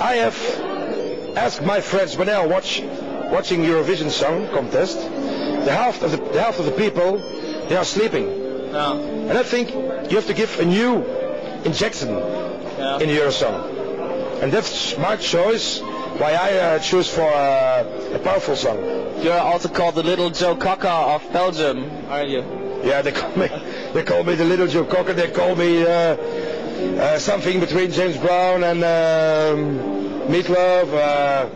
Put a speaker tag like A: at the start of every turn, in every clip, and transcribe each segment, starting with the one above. A: I have asked my friends when they are watch, watching Eurovision Song Contest, the half of the, the half of the people they are sleeping,
B: Yeah.
A: and I think you have to give a new injection
B: Yeah.
A: in Eurosong, and that's my choice. Why I uh, choose for uh, a powerful song.
B: You're also called the Little Joe Cocker of Belgium, aren't you?
A: Yeah, they call me, they call me the little Joe Cocker. They call me uh, uh, something between James Brown and um, Meatloaf. Uh,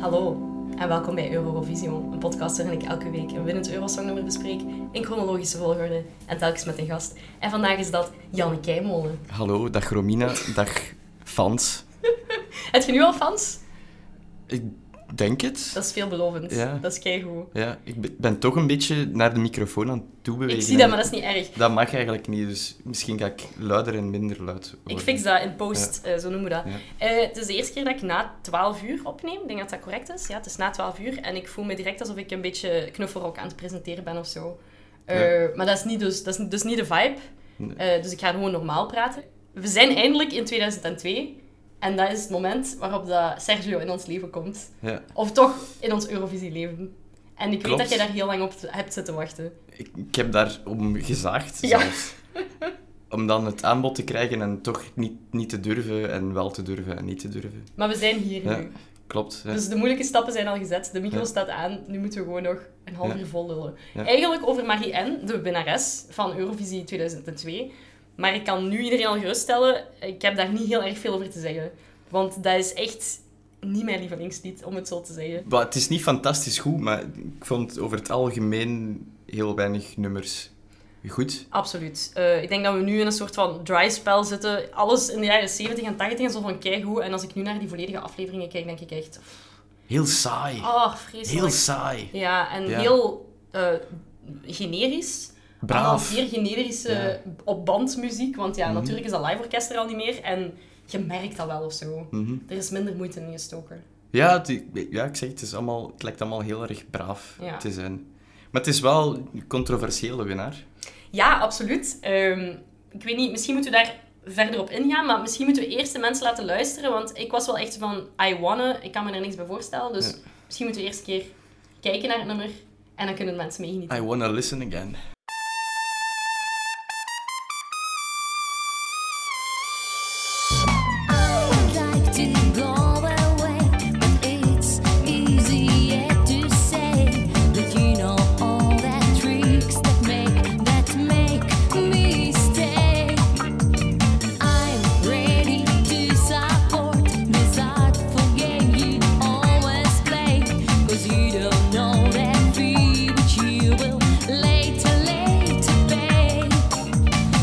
C: Hallo en welkom bij Eurovision, een podcast waarin ik elke week een winnend Eurosongnummer bespreek in chronologische volgorde en telkens met een gast. En vandaag is dat Janne Keimolen.
D: Hallo, dag Romina, dag fans.
C: Heb je nu al fans?
D: Ik denk het.
C: Dat is veelbelovend.
D: Ja.
C: Dat is keigoed.
D: Ja, ik be- ben toch een beetje naar de microfoon aan het toebewegen.
C: Ik zie dat, maar dat is niet erg.
D: Dat mag eigenlijk niet, dus misschien ga ik luider en minder luid worden.
C: Ik fix dat in post, eh, zo noemen we dat.
D: Ja.
C: Eh, het is de eerste keer dat ik na 12 uur opneem. Ik denk dat dat correct is. Ja, het is na 12 uur en ik voel me direct alsof ik een beetje knuffelrok aan het presenteren ben of zo. Eh, Maar dat is, niet dus, dat is dus niet de vibe. Eh, dus ik ga gewoon normaal praten. We zijn eindelijk in 2002 en dat is het moment waarop dat Sergio in ons leven komt.
D: Ja,
C: Of toch in ons Eurovisie-leven. En ik weet
D: Klopt.
C: dat jij daar heel lang op te- hebt zitten wachten.
D: ik, ik heb daar om gezaagd
C: Ja.
D: zelfs. Om dan het aanbod te krijgen en toch niet, niet te durven en wel te durven en niet te durven.
C: Maar we zijn hier
D: Ja,
C: nu.
D: klopt. Ja.
C: Dus de moeilijke stappen zijn al gezet. De micro
D: Ja.
C: staat aan. Nu moeten we gewoon nog een half
D: Ja.
C: uur vol lullen.
D: Ja.
C: Eigenlijk over Marie N, de winnares van Eurovisie 2002. Maar ik kan nu iedereen al geruststellen, ik heb daar niet heel erg veel over te zeggen. Want dat is echt niet mijn lievelingslied, om het zo te zeggen.
D: Maar het is niet fantastisch goed, maar ik vond over het algemeen heel weinig nummers goed.
C: Absoluut. Eh, ik denk dat we nu in een soort van dry spell zitten. Alles in de jaren 70 en 80 en zo van keigoed. En als ik nu naar die volledige afleveringen kijk, denk ik echt...
D: Heel saai.
C: Oh, vreselijk.
D: Heel saai.
C: Ja, en
D: Ja.
C: heel eh, generisch.
D: Braaf. Mhm.
C: Allemaal zeer generische op bandmuziek. Want ja, natuurlijk is dat live orkest er al niet meer. En je merkt dat wel of zo.
D: Mhm.
C: Er is minder moeite in gestoken.
D: Ja, het, ja, ik zeg, het, is allemaal, het lijkt allemaal heel erg braaf
C: Ja.
D: te zijn. Maar het is wel een controversiële winnaar.
C: Ja, absoluut. Ehm, ik weet niet, misschien moeten we daar verder op ingaan. Maar misschien moeten we eerst de mensen laten luisteren. Want ik was wel echt van, I wanna. Ik kan me er niks bij voorstellen. Dus misschien moeten we eerst een keer kijken naar het nummer. En dan kunnen de mensen meegenieten.
D: I wanna listen again.
E: Later, later, babe.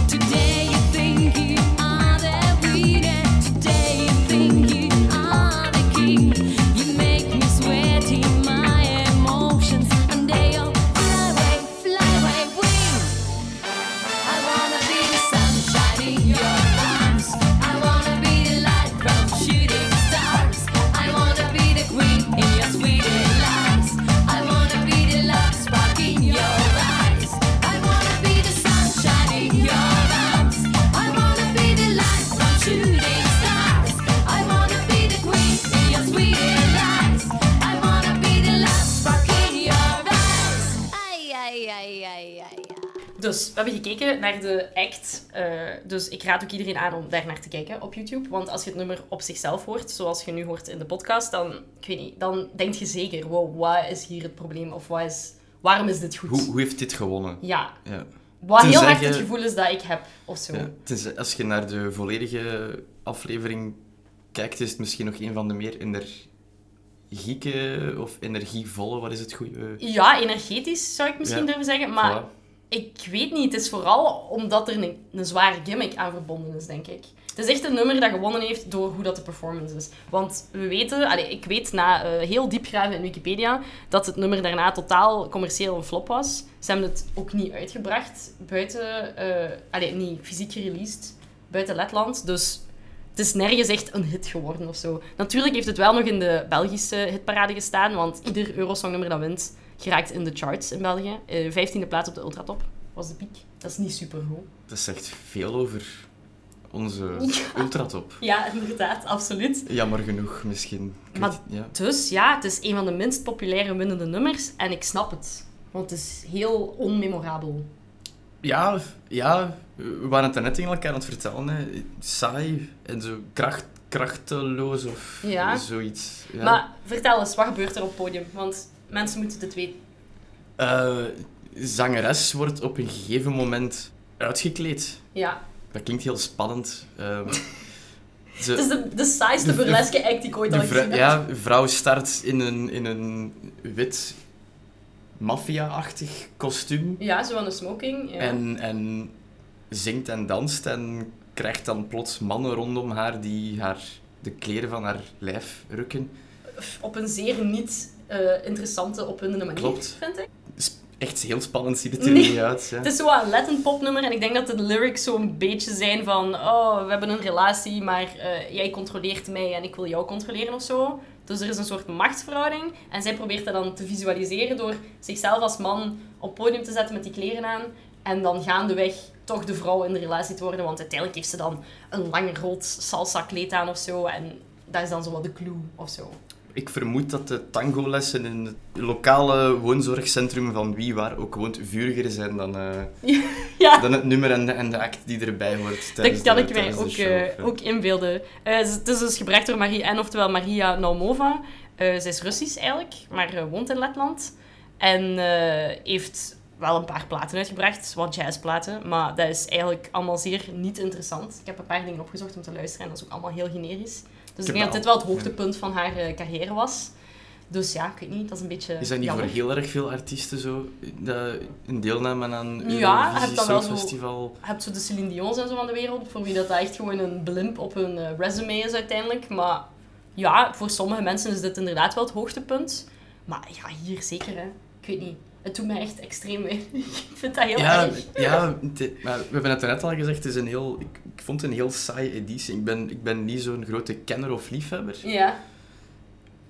E: Today you think you are the winner. Today you think you are the king. You make me sweat in my emotions, and they all fly away, fly away, wings. I wanna be the sunshine in your arms. I wanna be the light from shooting stars. I wanna be the queen in your sweet lies. I wanna be the love spark in your eyes. I wanna be the sunshine in your arms. I wanna be the light from shooting stars. I wanna be the queen in your sweet lies. I wanna be the love spark in your eyes. Ay ay ay ay ay. ay.
C: Dus we hebben gekeken naar de act. eh, dus ik raad ook iedereen aan om daar naar te kijken op YouTube. Want als je het nummer op zichzelf hoort, zoals je nu hoort in de podcast, dan, ik weet niet, dan denk je zeker, wow, wat is hier het probleem? Of wat is, waarom is dit goed?
D: Hoe, hoe heeft dit gewonnen?
C: Ja,
D: Ja.
C: wat heel
D: Tenzij
C: hard
D: je-
C: het gevoel is dat ik heb, of zo.
D: Ja. Het is, als je naar de volledige aflevering kijkt, is het misschien nog een van de meer energieke of energievolle, wat is het goede?
C: Ja, energetisch zou ik misschien
D: Ja.
C: durven zeggen. Maar
D: Voilà.
C: ik weet niet. Het is vooral omdat er een, een zware gimmick aan verbonden is, denk ik. Het is echt een nummer dat gewonnen heeft door hoe dat de performance is. Want we weten, allee, ik weet na eh, heel diep graven in Wikipedia, dat het nummer daarna totaal commercieel een flop was. Ze hebben het ook niet uitgebracht buiten, eh allee, niet fysiek gereleased buiten Letland. Dus het is nergens echt een hit geworden of zo. Natuurlijk heeft het wel nog in de Belgische hitparade gestaan, want ieder Eurosongnummer dat wint, geraakt in de charts in België. Eh, Vijftiende plaats op de Ultratop was de piek. Dat is niet supergoed.
D: Dat zegt veel over onze
C: Ja.
D: ultratop.
C: Ja, inderdaad, absoluut.
D: Jammer genoeg, misschien. Ik
C: Maar-
D: weet- ja.
C: Dus ja, het is een van de minst populaire winnende nummers en ik snap het. Want het is heel onmemorabel.
D: Ja, ja, we waren het daarnet tegen elkaar aan het vertellen. Hè. Saai en zo kracht, krachteloos of
C: Ja.
D: zoiets. Ja.
C: Maar vertel eens, wat gebeurt er op het podium? Want mensen moeten dit weten.
D: Eh, zangeres wordt op een gegeven moment uitgekleed.
C: Ja.
D: Dat klinkt heel spannend. Ehm, ze-
C: Het is de, de saaiste burleske act die ik ooit al
D: De vrou-
C: gezien heb.
D: ja, een vrouw start in een, in een wit maffia-achtig kostuum.
C: Ja, zo van de smoking. Ja.
D: En, en zingt en danst en krijgt dan plots mannen rondom haar die haar de kleren van haar lijf rukken.
C: Op een zeer niet eh, interessante, opwindende manier,
D: Klopt.
C: vind ik.
D: Is echt heel spannend ziet het er
C: Nee.
D: niet uit. Ja.
C: Het is zo een Latin popnummer en ik denk dat de lyrics zo'n beetje zijn van oh, we hebben een relatie, maar eh, jij controleert mij en ik wil jou controleren of zo. Dus er is een soort machtsverhouding en zij probeert dat dan te visualiseren door zichzelf als man op het podium te zetten met die kleren aan en dan gaandeweg toch de vrouw in de relatie te worden, want uiteindelijk heeft ze dan een lang rood salsa kleed aan of zo en dat is dan zo wat de clue of zo.
D: Ik vermoed dat de tangolessen in het lokale woonzorgcentrum van wie waar ook woont vuriger zijn dan, eh,
C: Ja.
D: dan het nummer en de, en de act die erbij hoort.
C: Dat
D: tijdens
C: kan
D: de-
C: ik mij
D: tijdens de
C: ook,
D: show.
C: eh,
D: Ja.
C: ook inbeelden. Eh, ze- het is dus gebracht door Marie N, oftewel Maria Naumova. Eh zij is Russisch eigenlijk, maar eh, woont in Letland. En eh, heeft wel een paar platen uitgebracht, wat jazzplaten. Maar dat is eigenlijk allemaal zeer niet interessant. Ik heb een paar dingen opgezocht om te luisteren en dat is ook allemaal heel generisch. Dus ik
D: heb
C: denk dat
D: al-
C: dit wel het hoogtepunt van haar eh, carrière was. Dus ja, ik weet niet, dat is een beetje
D: Is dat niet
C: jammer.
D: voor heel erg veel artiesten zo? Dat een deelname aan een
C: Ja, heb
D: Eurovisie
C: dat wel zo-
D: Songfestival?
C: Je hebt zo de Celine Dion's en zo van de wereld, voor wie dat echt gewoon een blimp op hun eh, resume is uiteindelijk. Maar ja, voor sommige mensen is dit inderdaad wel het hoogtepunt. Maar ja, hier zeker hè. Ik weet niet. Het doet mij echt extreem weinig. Ik vind dat heel
D: Ja,
C: erg.
D: ja de- maar we hebben het net al gezegd, het is een heel, ik, ik vond het een heel saaie editie. Ik ben, ik ben niet zo'n grote kenner of liefhebber.
C: Ja.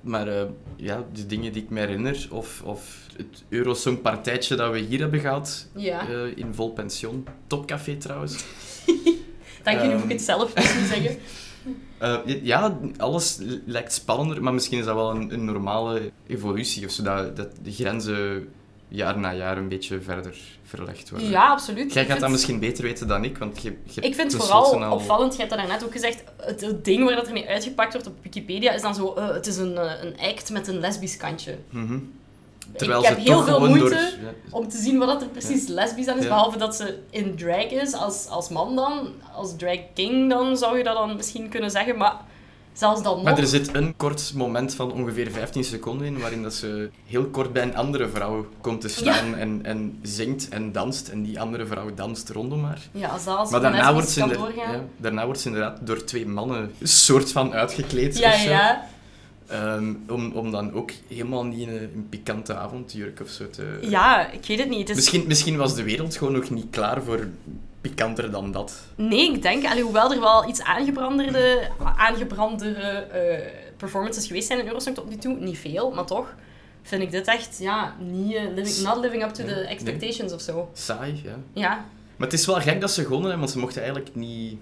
D: Maar eh, ja, de dingen die ik me herinner, of, of het Eurosong-partijtje dat we hier hebben gehad,
C: Ja.
D: eh, in Vol Pension. Topcafé trouwens.
C: Dank jullie,
D: Ehm.
C: moet ik het zelf misschien zeggen.
D: Eh, ja, alles lijkt spannender, maar misschien is dat wel een, een normale evolutie. Of zodat dat de grenzen jaar na jaar een beetje verder verlegd worden.
C: Ja, absoluut.
D: Jij
C: Ik
D: gaat dat
C: vind-
D: misschien dus beter weten dan ik, want je, je
C: Ik vind
D: hebt
C: vooral
D: tenslotte al-
C: opvallend, je hebt dat daarnet ook gezegd, het, het ding waar dat er mee uitgepakt wordt op Wikipedia is dan zo, eh, het is een, eh, een act met een lesbisch kantje.
D: Mhm. Terwijl
C: ik heb
D: ze
C: heel
D: toch
C: veel
D: gewoon
C: moeite
D: door- ja.
C: om te zien wat dat er precies lesbisch aan is.
D: Ja.
C: Behalve dat ze in drag is, als, als man dan. Als drag king dan, zou je dat dan misschien kunnen zeggen. Maar zelfs dan nog...
D: Maar er zit een kort moment van ongeveer 15 seconden in, waarin dat ze heel kort bij een andere vrouw komt te staan en, en zingt en danst. En die andere vrouw danst rondom haar.
C: Ja, als dat als
D: Maar daarna
C: lesbisch
D: wordt, ze
C: kan
D: inder-
C: doorgaan.
D: ja, daarna wordt ze inderdaad door twee mannen een soort van uitgekleed.
C: Ja,
D: of zo.
C: ja, ja.
D: Ehm, om, om dan ook helemaal niet in een, een pikante avondjurk of zo te...
C: Ja, ik weet het niet. Het is-
D: Misschien, misschien was de wereld gewoon nog niet klaar voor pikanter dan dat.
C: Nee, ik denk, allee, hoewel er wel iets aangebranderde, aangebrandere eh, performances geweest zijn in Eurosong tot nu toe, niet veel, maar toch vind ik dit echt, ja, niet, eh, living- not living up to
D: Ja,
C: the
D: nee.
C: expectations of zo.
D: Saai, ja.
C: Ja,
D: Maar het is wel gek dat ze gewonnen hebben, want ze mochten eigenlijk niet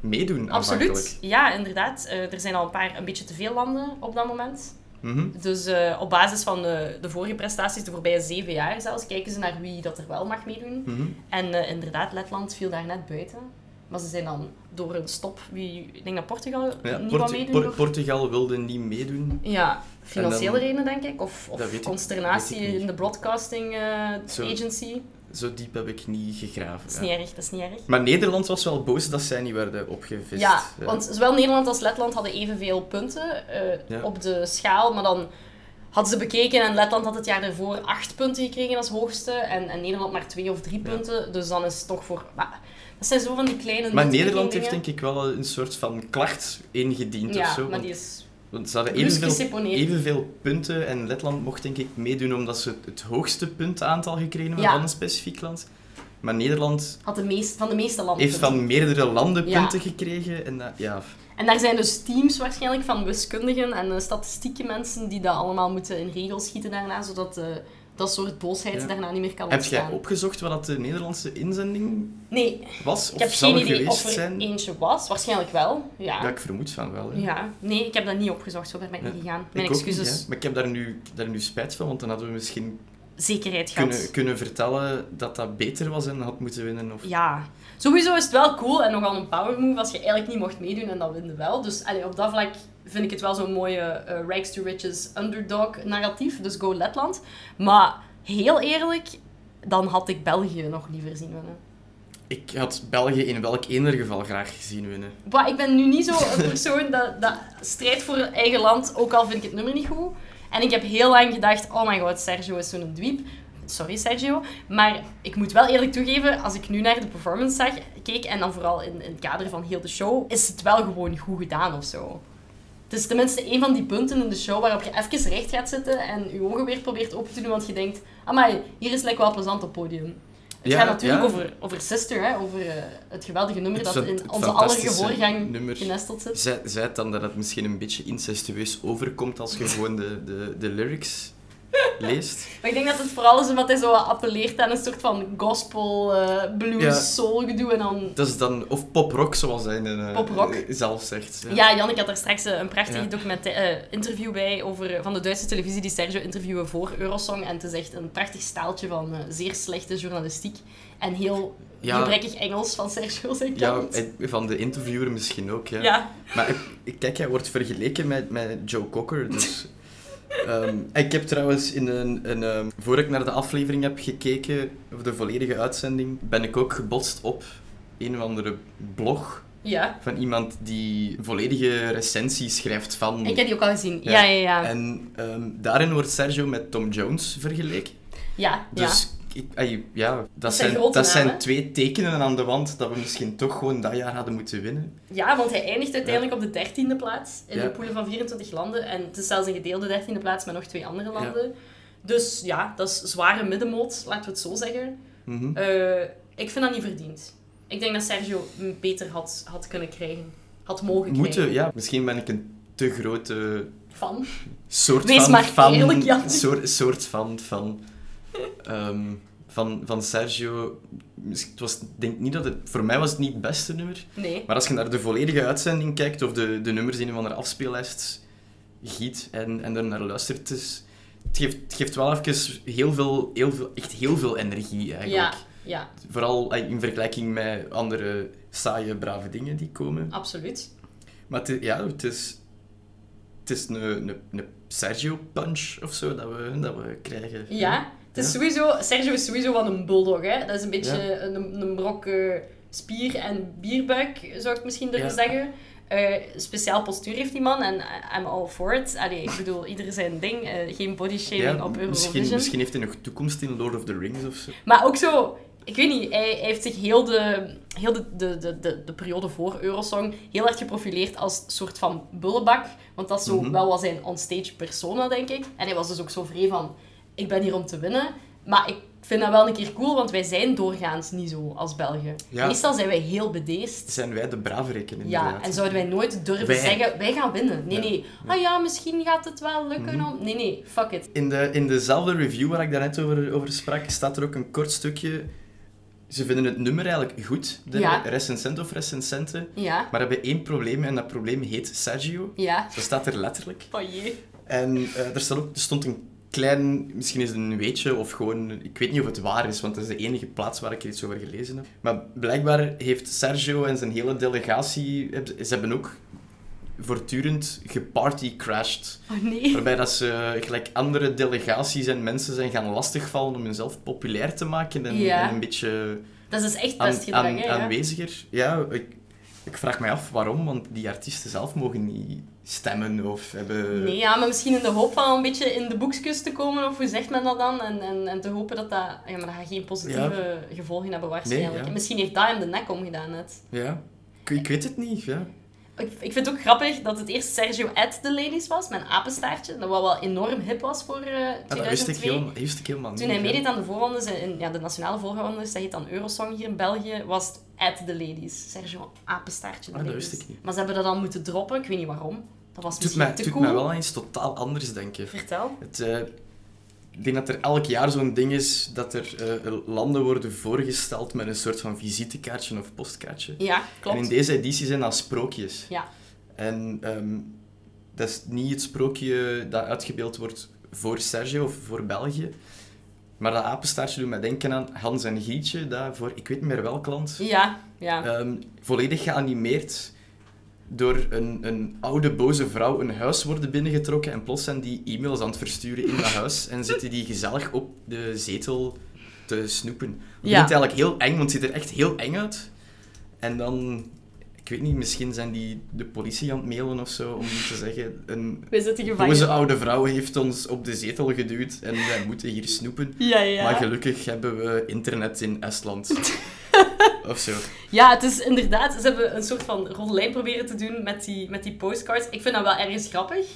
D: meedoen
C: Absoluut,
D: aanvankelijk.
C: ja, inderdaad. Eh, er zijn al een paar een beetje te veel landen op dat moment.
D: Mhm.
C: Dus eh, op basis van de, de vorige prestaties, de voorbije zeven jaar zelfs, kijken ze naar wie dat er wel mag meedoen.
D: Mhm.
C: En eh, inderdaad, Letland viel daar net buiten. Maar ze zijn dan door een stop, wie, ik denk dat Portugal
D: Ja,
C: niet
D: Portu-
C: wou meedoen.
D: Por-
C: door-
D: Portugal wilde niet meedoen.
C: ja, financiële
D: En dan-
C: redenen denk ik. Of,
D: Dat
C: of
D: weet ik-
C: consternatie
D: weet ik niet.
C: in de broadcasting eh,
D: Zo.
C: agency.
D: Zo diep heb ik niet gegraven.
C: Dat is
D: ja.
C: niet erg, dat is niet erg.
D: Maar Nederland was wel boos dat zij niet werden opgevist. eh.
C: Ja, want zowel Nederland als Letland hadden evenveel punten eh,
D: Ja.
C: op de schaal, maar dan hadden ze bekeken en Letland had het jaar daarvoor acht punten gekregen als hoogste en, en Nederland maar twee of drie
D: Ja.
C: punten, dus dan is het toch voor... Maar, dat zijn zo van die kleine...
D: Maar
C: nitpicking
D: Nederland heeft
C: dingen.
D: denk ik wel een soort van klacht ingediend
C: Ja,
D: of zo.
C: maar
D: want-
C: die is...
D: Want ze hadden
C: Brusk
D: evenveel,
C: geseponeerd.
D: evenveel punten en Letland mocht denk ik meedoen omdat ze het hoogste puntaantal gekregen hebben
C: Ja.
D: van een specifiek land. Maar Nederland
C: Had de meest, van de meeste landen
D: heeft
C: punten.
D: van meerdere landen
C: Ja.
D: punten gekregen. En dat, ja,
C: En daar zijn dus teams waarschijnlijk van wiskundigen en eh, statistieke mensen die dat allemaal moeten in regels schieten daarna, zodat eh, dat soort boosheid
D: Ja.
C: daarna niet meer kan
D: Heb
C: ontstaan.
D: jij opgezocht wat dat de Nederlandse inzending
C: Nee,
D: was?
C: ik
D: Of
C: heb
D: zou
C: geen
D: er
C: idee
D: geweest
C: of er
D: zijn?
C: eentje was. Waarschijnlijk wel, ja.
D: Ja, ik vermoed van wel. hè.
C: Ja, nee, ik heb dat niet opgezocht, zo ver ben ik niet gegaan. Mijn
D: Ik ook niet,
C: excuses.
D: hè. maar ik heb daar nu, ik heb daar nu spijt van, want dan hadden we misschien
C: Zekerheid gehad.
D: kunnen, kunnen vertellen dat dat beter was en had moeten winnen. Of...
C: Ja, sowieso is het wel cool en nogal een power move als je eigenlijk niet mocht meedoen en dat winde wel. Dus allee, op dat vlak vind ik het wel zo'n mooie eh rags to riches underdog narratief. Dus go Letland. Maar heel eerlijk, dan had ik België nog liever zien winnen.
D: Ik had België in welk eender geval graag gezien winnen.
C: Maar ik ben nu niet zo'n persoon dat, dat strijdt voor het eigen land, ook al vind ik het nummer niet goed. En ik heb heel lang gedacht, oh mijn god, Sergio is zo'n dweep. Sorry Sergio, maar ik moet wel eerlijk toegeven, als ik nu naar de performance zag, keek en dan vooral in, in het kader van heel de show, is het wel gewoon goed gedaan of zo. Het is tenminste een van die punten in de show waarop je even recht gaat zitten en je ogen weer probeert open te doen, want je denkt, amai, hier is lekker wel plezant op het podium. Het
D: Ja,
C: gaat natuurlijk
D: ja.
C: over, over Sister, hè, over eh, het geweldige nummer
D: Het
C: dat
D: is een-
C: in
D: het
C: onze aller
D: fantastische
C: gehoorgang
D: nummer.
C: genesteld zit.
D: Zij, zei het dan dat het misschien een beetje incestueus overkomt als je gewoon de, de, de lyrics leest?
C: Maar ik denk dat het vooral is omdat hij zo wat appelleert aan een soort van gospel, eh, blues,
D: Ja.
C: soul gedoe. En dan...
D: Dat is dan, of poprock, zoals hij in, eh,
C: Poprock?
D: zelf zegt. ja.
C: Ja, Jannik had daar straks eh, een prachtig
D: Ja.
C: documenta- eh, interview bij over, eh, van de Duitse televisie die Sergio interviewen voor Eurosong. En het is echt een prachtig staaltje van eh, zeer slechte journalistiek en heel
D: Ja.
C: gebrekkig Engels van Sergio zijn
D: Ja,
C: kant.
D: en van de interviewer misschien ook. Ja.
C: Ja.
D: Maar ik- kijk, hij wordt vergeleken met, met Joe Cocker. Dus, Ehm, ik heb trouwens in een, een ehm, voor ik naar de aflevering heb gekeken, of de volledige uitzending, ben ik ook gebotst op een of andere blog
C: ja.
D: van iemand die volledige recensie schrijft van.
C: Ik heb die ook al gezien. Ja, ja, ja. Ja,
D: En ehm, daarin wordt Sergio met Tom Jones vergeleken.
C: ja.
D: Dus ik, ai, ja, dat,
C: zijn
D: zijn,
C: grote
D: dat zijn
C: namen.
D: twee tekenen aan de wand dat we misschien toch gewoon dat jaar hadden moeten winnen.
C: Ja, want hij eindigt uiteindelijk op de dertiende plaats in
D: Ja.
C: de poelen van 24 landen. En het is zelfs een gedeelde dertiende plaats met nog twee andere landen. Dus ja, dat is zware middenmoot, laten we het zo zeggen.
D: Mhm.
C: Eh, ik vind dat niet verdiend. Ik denk dat Sergio hem beter had, had kunnen krijgen. Had mogen
D: Moeten,
C: krijgen.
D: ja. Misschien ben ik een te grote
C: Van.
D: soort
C: Wees
D: van...
C: maar
D: fan-
C: eerlijk, Jan.
D: Soort, soort van... Van, ehm, van, van Sergio. Misschien- Het was, denk niet dat het... Voor mij was het niet het beste nummer.
C: Nee.
D: Maar als je naar de volledige uitzending kijkt, of de, de nummers in een van de afspeellijst giet en, en er naar luistert, het, is- het, geeft, het geeft wel even heel veel, heel veel... Echt heel veel energie, eigenlijk.
C: Ja, ja,
D: Vooral eh, in vergelijking met andere saaie, brave dingen die komen.
C: absoluut.
D: Maar het, i- ja, het is, het is een, een, een Sergio-punch of zo dat we, dat we krijgen.
C: Ja, het is
D: Ja.
C: sowieso, Sergio is sowieso wel een bulldog. Hè? Dat is een beetje
D: Ja.
C: een, een brok eh, spier- en bierbuik, zou ik misschien durven
D: Ja.
C: zeggen. Eh, speciaal postuur heeft die man en I- I'm all for it. Allee, ik bedoel, ieder zijn ding. eh, geen body shaming
D: Ja,
C: op
D: misschien,
C: Eurovision.
D: misschien heeft hij nog toekomst in Lord of the Rings of zo.
C: Maar ook zo, ik weet niet, hij, hij heeft zich heel, de, heel de, de, de, de, de periode voor Eurosong heel erg geprofileerd als soort van bullebak. Want dat is
D: Mhm.
C: zo wel was zijn onstage persona, denk ik. En hij was dus ook zo vrij van, ik ben hier om te winnen. Maar ik vind dat wel een keer cool, want wij zijn doorgaans niet zo als Belgen.
D: Ja.
C: Meestal zijn wij heel bedeesd.
D: Zijn wij de braverikken
C: Ja,
D: inderdaad?
C: en zouden wij nooit durven
D: Wij.
C: zeggen, wij gaan winnen. Nee,
D: Ja. Mhm.
C: nee. Ah ja, misschien gaat het wel lukken om... Nee, nee, fuck it.
D: in, de, in dezelfde review waar ik daarnet over, over sprak, staat er ook een kort stukje... Ze vinden het nummer eigenlijk goed, de
C: Ja.
D: recensent of recensenten,
C: Ja,
D: maar hebben één probleem en dat probleem heet Sergio.
C: ja.
D: Dat staat er letterlijk.
C: Van je.
D: En eh, er, staat ook, er stond een klein, misschien is het een weetje of gewoon, ik weet niet of het waar is, want dat is de enige plaats waar ik er iets over gelezen heb. Maar blijkbaar heeft Sergio en zijn hele delegatie, heb- ze hebben ook voortdurend gepartycrashed.
C: Oh nee.
D: Waarbij dat ze eh, gelijk andere delegaties en mensen zijn gaan lastigvallen om hunzelf populair te maken en,
C: Ja.
D: en een beetje
C: Dat is dus echt
D: aan-
C: best gedrag,
D: aan-
C: hè, ja.
D: aanweziger. Ja, ik, ik vraag mij af waarom, want die artiesten zelf mogen niet stemmen of hebben...
C: Nee, ja, maar misschien in de hoop van een beetje in de boekjes te komen, of hoe zegt men dat dan? En, en, en te hopen dat dat... Ja, maar dat gaat geen positieve gevolgen hebben waarschijnlijk.
D: Nee, ja.
C: Misschien heeft dat hem de nek omgedaan net.
D: Ja, ik, ik weet het niet. Ja.
C: Ik, ik vind het ook grappig dat het eerst Sergio at the Ladies was, mijn apenstaartje, dat wel, wel enorm hip was voor eh
D: Ah, dat wist ik,
C: 2002.
D: helemaal, wist ik helemaal niet.
C: Toen hij
D: ja.
C: meedeed aan de voorrondes, in, in- ja, de nationale voorrondes, dat heet dan Eurosong hier in België, was het At the ladies. Sergio, apenstaartje. The
D: Ah, dat
C: Ladies.
D: wist ik niet.
C: Maar ze hebben dat al moeten droppen. Ik weet niet waarom. Dat was
D: Het doet,
C: misschien
D: mij, het
C: te
D: doet
C: cool.
D: mij wel aan iets totaal anders denken.
C: Vertel.
D: Het, eh, ik denk dat er elk jaar zo'n ding is dat er eh, landen worden voorgesteld met een soort van visitekaartje of postkaartje.
C: Ja, klopt.
D: En in deze editie zijn dat sprookjes.
C: Ja.
D: En ehm, dat is niet het sprookje dat uitgebeeld wordt voor Sergio of voor België. Maar dat apenstaartje doet mij denken aan Hans en Gietje, dat voor ik weet niet meer welk land,
C: Ja, ja.
D: ehm, volledig geanimeerd door een, een oude boze vrouw een huis worden binnengetrokken en plots zijn die e-mails aan het versturen in dat huis en zitten die gezellig op de zetel te snoepen.
C: Ja.
D: Het begint eigenlijk heel eng, want het ziet er echt heel eng uit. En dan, ik weet niet, misschien zijn die de politie aan het mailen of zo, om te zeggen, een
C: We zitten gevangen.
D: boze oude vrouw heeft ons op de zetel geduwd en wij moeten hier snoepen.
C: Ja, ja.
D: Maar gelukkig hebben we internet in Estland. of zo.
C: Ja, het is inderdaad... Ze hebben een soort van rode lijn proberen te doen met die, met die postcards. Ik vind dat wel ergens grappig.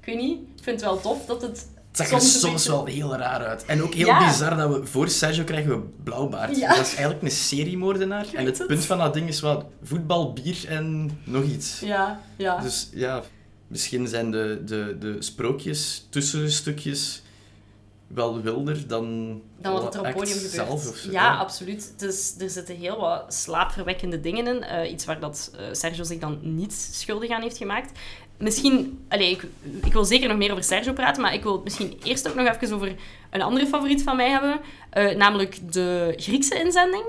C: Ik weet niet. Ik vind het wel tof dat het...
D: Het zag er
C: Soms een
D: soms,
C: beetje-
D: wel heel raar uit. En ook heel
C: Ja.
D: bizar dat we voor Sergio krijgen we Blauwbaard.
C: Ja.
D: Dat is eigenlijk een seriemoordenaar. En het,
C: het.
D: punt van dat ding is wat voetbal, bier en nog iets.
C: Ja, ja.
D: Dus ja, misschien zijn de, de, de sprookjes, tussenstukjes wel wilder dan,
C: dan wat er op
D: alle
C: het
D: acts
C: podium gebeurt.
D: zelf. Of zo.
C: ja, absoluut. Dus, er zitten heel wat slaapverwekkende dingen in. eh, iets waar dat, eh, Sergio zich dan niet schuldig aan heeft gemaakt. Misschien, allee, ik, ik wil zeker nog meer over Sergio praten, maar ik wil het misschien eerst ook nog even over een andere favoriet van mij hebben. eh, namelijk de Griekse inzending.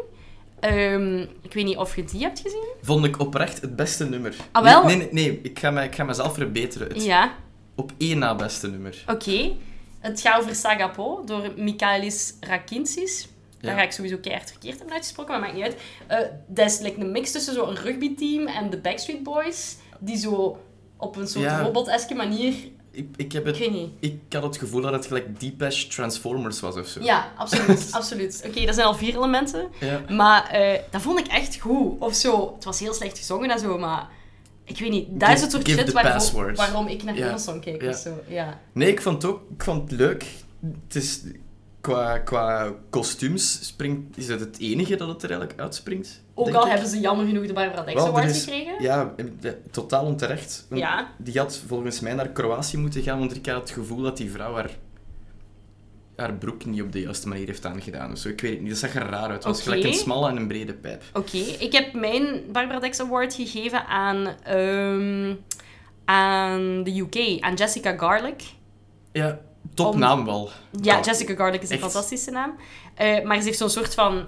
C: Ehm, ik weet niet of je die hebt gezien.
D: Vond ik oprecht het beste nummer.
C: Ah, wel?
D: Nee, nee, nee, nee, ik, ga mij, ik ga mezelf verbeteren. Het
C: Ja,
D: op één na beste nummer.
C: oké. Het gaat over Sagapo door Michaelis Rakinsis. Daar
D: Ja.
C: ga ik sowieso keihard verkeerd hebben uitgesproken, maar maakt niet uit. Eh, dat is like, een mix tussen zo'n rugbyteam en de Backstreet Boys, die zo op een soort
D: Ja.
C: robot-eske manier...
D: Ik, ik, heb
C: Ik
D: het,
C: weet niet.
D: ik had het gevoel dat het gelijk Deepesh Transformers was of zo.
C: Ja, absoluut. absoluut. Oké, dat zijn al vier elementen.
D: Ja.
C: Maar eh, dat vond ik echt goed. Of zo, het was heel slecht gezongen en zo, maar... Ik weet niet, dat
D: Give-
C: is het soort
D: give
C: shit
D: the
C: waarom,
D: passwords.
C: waarom ik naar
D: Ja.
C: Amazon keek
D: Ja.
C: of zo. Ja.
D: Nee, ik vond het ook ik vond het leuk. Het is, qua, qua kostuums springt, is het het enige dat het er eigenlijk uitspringt.
C: Ook
D: denk
C: al
D: ik.
C: hebben ze jammer genoeg de Barbara Dex
D: Wel, er
C: Award
D: is-
C: gekregen.
D: Ja, en de- totaal onterecht. Want
C: Ja.
D: Die had volgens mij naar Kroatië moeten gaan, want ik had het gevoel dat die vrouw haar, haar broek niet op de juiste manier heeft aangedaan. Of zo. Ik weet het niet, dat zag er raar uit. Het was
C: Oké.
D: gelijk een smalle en een brede pijp.
C: Oké, ik heb mijn Barbara Dex Award gegeven aan, ehm, aan de UK, aan Jessica Garlic.
D: Ja, top
C: Om-
D: naam wel.
C: Ja,
D: Oh,
C: Jessica Garlic is een
D: echt?
C: fantastische naam. Eh, maar ze heeft zo'n soort van...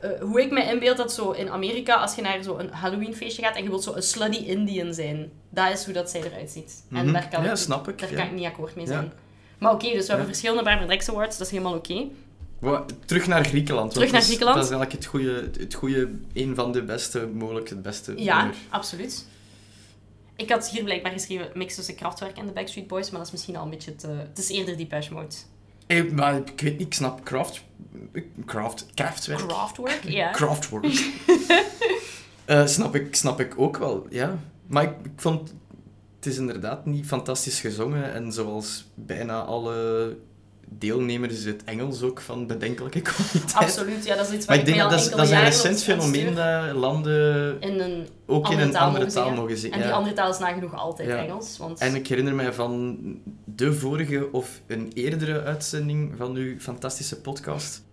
C: eh, hoe ik me inbeeld dat zo in Amerika, als je naar zo'n Halloweenfeestje gaat en je wilt zo een slutty Indian zijn. Dat is hoe dat zij eruit ziet. En
D: Mhm.
C: daar kan,
D: Ja,
C: ik,
D: snap ik,
C: Daar
D: ja.
C: kan ik niet akkoord mee
D: Ja.
C: zijn. Maar oké, dus we hebben
D: Ja.
C: verschillende Barbara Dex Awards, dat is helemaal oké.
D: Wa- Terug naar Griekenland. want
C: Terug naar
D: dat is-
C: Griekenland.
D: Dat is eigenlijk het goede, het goede, een van de beste, mogelijk het beste.
C: Ja,
D: nummer.
C: absoluut. Ik had hier blijkbaar geschreven mix tussen Kraftwerk en de Backstreet Boys, maar dat is misschien al een beetje te... Het is eerder Depeche Mode.
D: Eh, maar ik weet niet, ik snap Kraft. Kraft. Kraftwerk.
C: Kraftwerk, ja.
D: Kraftwerk. Eh, snap, ik, snap ik ook wel, ja. Maar ik, ik vond. Het is inderdaad niet fantastisch gezongen en zoals bijna alle deelnemers is het Engels ook van bedenkelijke kwaliteit.
C: Absoluut, ja, dat is iets waar
D: Maar ik denk
C: mij al
D: dat dat is,
C: enkele
D: dat is een
C: jaren
D: recent
C: op- op
D: fenomeen
C: stuur.
D: dat landen
C: In een
D: ook in
C: andere
D: een
C: taal
D: andere
C: mogen
D: taal
C: zingen.
D: mogen zingen.
C: En die
D: ja.
C: andere taal is nagenoeg altijd
D: Ja.
C: Engels, want...
D: En ik herinner mij van de vorige of een eerdere uitzending van uw fantastische podcast,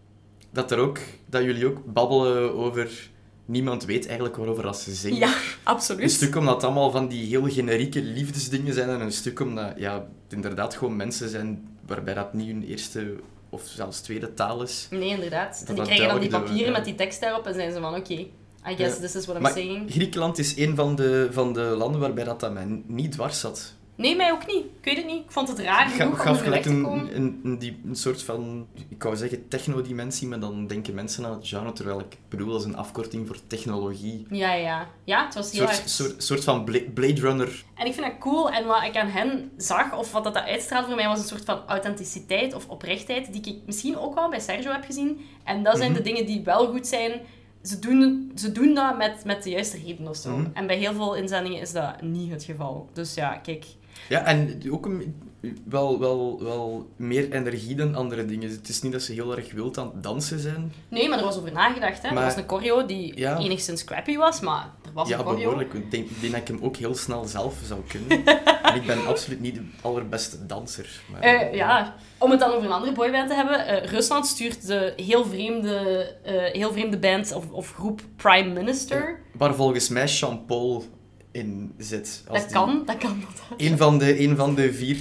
D: dat, er ook, dat jullie ook babbelen over... Niemand weet eigenlijk waarover als ze zingen.
C: Ja,
D: Een
C: absoluut.
D: stuk omdat het allemaal van die heel generieke liefdesdingen zijn en een stuk omdat ja, het inderdaad gewoon mensen zijn waarbij dat niet hun eerste of zelfs tweede taal is.
C: Nee, inderdaad. en die
D: dat
C: krijgen dan die
D: duidelijk dat we-
C: papieren
D: ja.
C: met die tekst daarop en zijn ze van, oké, I guess
D: Ja.
C: this is what I'm
D: Maar
C: saying.
D: Griekenland is een van de, van de landen waarbij dat, dat mij niet dwars zat.
C: Nee, mij ook niet. Ik weet het niet. Ik vond het raar
D: Ik
C: genoeg om
D: gaf
C: er weg
D: gelijk
C: te
D: een,
C: komen.
D: een, een, die, een soort van, ik wou zeggen technodimensie, maar dan denken mensen aan het genre, terwijl ik bedoel als een afkorting voor technologie.
C: Ja, ja. Ja, het was
D: Een
C: heel
D: soort,
C: erg...
D: soort, soort van Bla- Blade Runner.
C: En ik vind dat cool. En wat ik aan hen zag, of wat dat uitstraalde voor mij, was een soort van authenticiteit of oprechtheid, die ik misschien ook wel bij Sergio heb gezien. En dat zijn
D: Mhm.
C: de dingen die wel goed zijn. Ze doen, ze doen
D: Mhm.
C: dat met, met de juiste reden of zo. En bij heel veel inzendingen is dat niet het geval. Dus ja, kijk.
D: Ja, en ook een- wel, wel, wel meer energie dan andere dingen. Het is niet dat ze heel erg wild aan het dansen zijn.
C: Nee, maar er was over nagedacht. Hè.
D: Maar-
C: Er was een choreo die
D: Ja.
C: enigszins crappy was, maar er was
D: ja,
C: een choreo.
D: behoorlijk. Ik denk, ik denk dat ik hem ook heel snel zelf zou kunnen. en ik ben absoluut niet de allerbeste danser. Maar,
C: Eh, ja, om het dan over een andere boyband te hebben. eh, Rusland stuurt de heel vreemde, eh, heel vreemde band of, of groep Prime Minister.
D: Waar volgens mij Sean Paul in zit. als
C: dat,
D: die-
C: kan, dat kan, dat
D: Een van de, een van de vier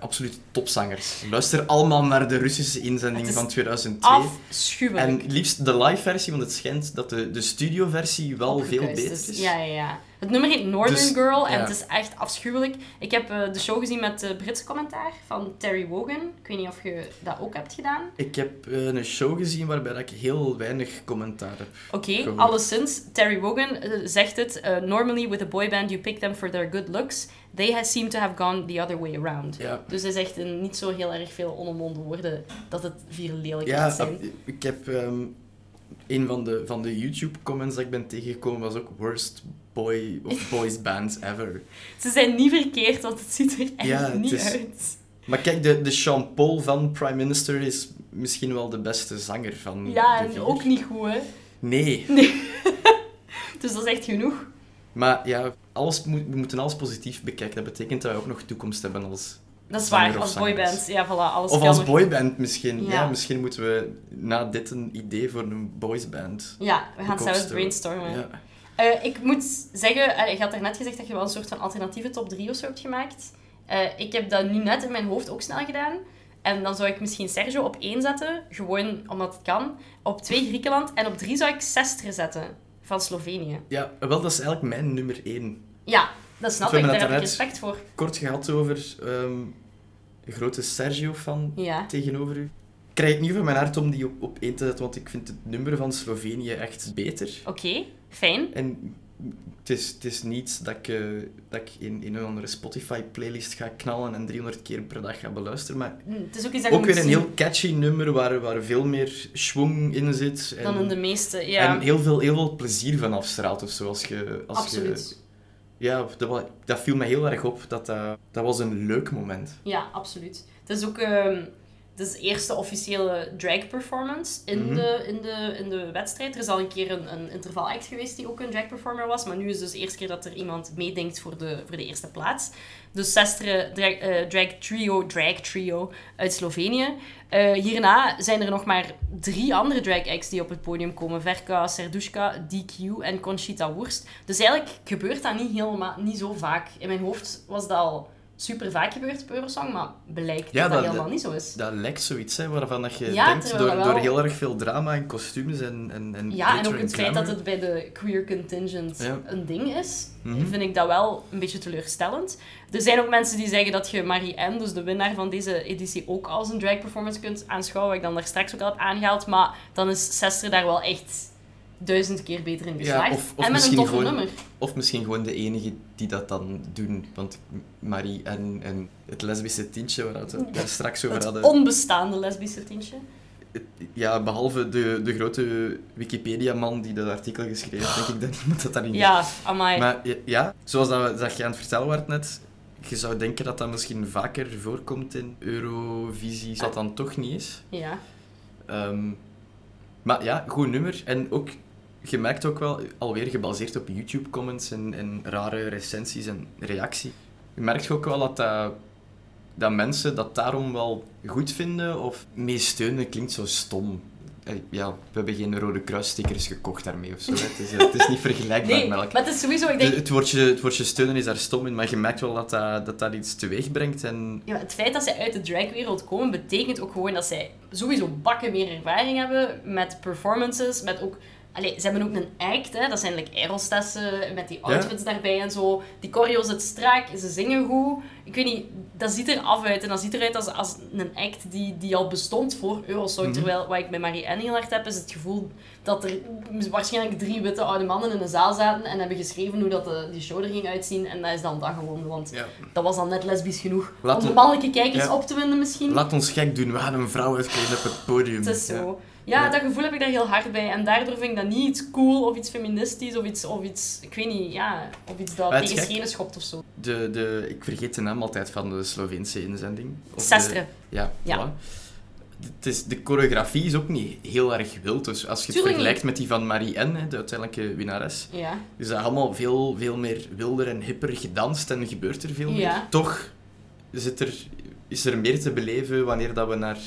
D: absoluut topzangers. Luister allemaal naar de Russische inzending
C: Het is
D: van 2002.
C: Afschuwelijk.
D: En liefst de live versie, want het schijnt dat de, de studioversie wel veel
C: Opgekuist
D: beter
C: dus is.
D: is.
C: Ja, ja, ja. Het nummer heet Northern
D: Dus,
C: Girl en
D: ja.
C: het is echt afschuwelijk. Ik heb eh, de show gezien met de Britse commentaar van Terry Wogan. Ik weet niet of je dat ook hebt gedaan.
D: Ik heb eh, een show gezien waarbij dat ik heel weinig commentaar heb.
C: Oké,
D: Gehoord.
C: alleszins, Terry Wogan eh, zegt het. eh, Normally with a boy band you pick them for their good looks. They ha- seem to have gone the other way around.
D: Ja.
C: Dus hij zegt in niet zo heel erg veel onomwonden woorden dat het vier lelijke
D: Ja,
C: zijn.
D: eh, ik heb ehm, een van de, van de YouTube-comments dat ik ben tegengekomen was ook worst boy of boys band ever.
C: Ze zijn niet verkeerd, want het ziet er echt
D: Ja, het
C: niet
D: is-
C: uit.
D: Maar kijk, de, de Sean Paul van Prime Minister is misschien wel de beste zanger van
C: Ja,
D: de
C: en
D: vier.
C: ook niet goed, hè.
D: Nee,
C: Dus dat is echt genoeg.
D: maar ja, alles moet, we moeten alles positief bekijken. Dat betekent dat we ook nog toekomst hebben als...
C: Dat is
D: Zanger
C: waar,
D: of
C: als
D: zangeres.
C: boyband. Ja, voilà, alles
D: Of
C: kan
D: als
C: nog.
D: boyband misschien.
C: Ja.
D: Ja. misschien moeten we na dit een idee voor een boysband.
C: Ja, we gaan zelfs
D: opstellen.
C: brainstormen.
D: Ja.
C: Eh, ik moet zeggen, eh, je had daarnet gezegd dat je wel een soort van alternatieve top 3 of zo hebt gemaakt. Eh, ik heb dat nu net in mijn hoofd ook snel gedaan. En dan zou ik misschien Sergio op 1 zetten, gewoon omdat het kan. Op 2 Griekenland en op 3 zou ik Sestre zetten, van Slovenië.
D: ja, wel, dat is eigenlijk mijn nummer één.
C: Ja, dat snap
D: We
C: ik,
D: hebben
C: daar
D: dat
C: heb ik
D: daarnet-
C: respect voor.
D: kort gehad over ehm, een grote Sergio-fan
C: Ja.
D: tegenover u. Ik krijg het niet van mijn hart om die op, op één te zetten, want ik vind het nummer van Slovenië echt beter.
C: Oké, fijn.
D: En het is, het is niet dat ik, eh, dat ik in, in een andere Spotify-playlist ga knallen en 300 keer per dag ga beluisteren, maar
C: Hm, Het is ook iets dat je
D: ook
C: moet
D: weer
C: zien
D: een heel catchy nummer waar, waar veel meer schwung in zit. En,
C: dan in de meeste. Ja,
D: en heel, veel, heel veel plezier van afstraalt of zo. Als je, als
C: absoluut.
D: Je, ja, dat, wa- dat viel mij heel erg op. Dat, dat, dat was een leuk moment.
C: Ja, absoluut. Het is ook ehm het is de eerste officiële drag performance in,
D: Mhm.
C: de, in, de, in de wedstrijd. Er is al een keer een, een interval act geweest die ook een drag performer was. Maar nu is dus de eerste keer dat er iemand meedenkt voor de, voor de eerste plaats. Dus Sestre drag, eh, drag Trio, Drag Trio uit Slovenië. Eh, hierna zijn er nog maar drie andere drag acts die op het podium komen. Verka, Serdushka, DQ en Conchita Wurst. Dus eigenlijk gebeurt dat niet helemaal, niet zo vaak. In mijn hoofd was dat al super vaak gebeurd op Eurosong, maar blijkt
D: Ja,
C: dat dat
D: dat-
C: helemaal niet zo is.
D: Dat lijkt zoiets, hè, waarvan dat je
C: Ja,
D: denkt,
C: terwijl
D: door,
C: dat wel-
D: door heel erg veel drama en kostuums en, en, en
C: Ja, en
D: glitter
C: ook het feit
D: glamour.
C: dat het bij de queer contingent
D: Ja. Mhm.
C: een ding is, vind ik dat wel een beetje teleurstellend. Er zijn ook mensen die zeggen dat je Marie-Anne, dus de winnaar van deze editie, ook als een drag performance kunt aanschouwen, wat ik dan daar straks ook al heb aangehaald. Maar dan is Sester daar wel echt duizend keer beter in geslaagd.
D: Ja, of,
C: en
D: of
C: met een
D: misschien
C: toffe
D: gewoon,
C: nummer.
D: Of misschien gewoon de enige die dat dan doen. Want Marie en, en het lesbische tintje waar we het daar straks over
C: Het
D: hadden...
C: onbestaande lesbische tintje.
D: het- ja, behalve de, de grote Wikipedia-man die dat artikel geschreven heeft, denk ik dat niemand dat daarin
C: Ja, amai.
D: Maar ja- ja, zoals dat, we- dat je aan het vertellen werd net, je zou denken dat dat misschien vaker voorkomt in Eurovisie, dat dan toch niet is.
C: Ja.
D: Ehm, maar ja, goed nummer. En ook, je merkt ook wel, alweer gebaseerd op YouTube-comments en, en rare recensies en reactie. Je merkt ook wel dat, dat, dat mensen dat daarom wel goed vinden of mee steunen klinkt zo stom. Eh, Ja, we hebben geen rode kruisstickers gekocht daarmee of zo. hè. Het is, eh, het is niet vergelijkbaar
C: Nee,
D: met
C: maar
D: elkaar.
C: het is sowieso, ik
D: De-
C: denk,
D: het, woordje, het woordje steunen is daar stom in, maar je merkt wel dat eh, dat, dat, dat iets teweeg brengt. En
C: Ja, maar het feit dat zij uit de dragwereld komen, betekent ook gewoon dat zij sowieso bakken meer ervaring hebben met performances, met ook... Allee, ze hebben ook een act, hè. dat zijn like aerostessen met die
D: Ja.
C: outfits daarbij en zo. Die choreo zit strak, ze zingen goed. Ik weet niet, dat ziet er af uit. En dat ziet eruit als, als een act die, die al bestond voor Eurosong. Terwijl wat ik met Marie-Anne heel hard heb, is het gevoel dat er waarschijnlijk drie witte oude mannen in een zaal zaten en hebben geschreven hoe dat de, die show er ging uitzien. En dat is dan dat gewoon, want
D: Ja.
C: dat was dan net lesbisch genoeg
D: Laten
C: om de
D: we-
C: mannelijke kijkers
D: Ja.
C: op te winden misschien.
D: laat ons gek doen, we gaan een vrouw uitkleden op het podium.
C: het is zo.
D: Ja.
C: Ja, dat gevoel heb ik daar heel hard bij. En daardoor vind ik dat niet iets cool of iets feministisch of iets, of iets ik weet niet, ja, of iets dat
D: Maar het
C: tegen
D: gek-
C: schenen schopt of zo.
D: De, de, ik vergeet de naam altijd van de Sloveense inzending. Of de-
C: Sestre.
D: ja,
C: Ja.
D: voilà. Het is, de choreografie is ook niet heel erg wild. Dus als je het
C: Tuurlijk
D: vergelijkt met die van Marie-Anne, hè, de uiteindelijke winnares,
C: Ja.
D: is dat allemaal veel, veel meer wilder en hipper gedanst en gebeurt er veel
C: Ja.
D: meer. Toch zit er, is er meer te beleven wanneer dat we naar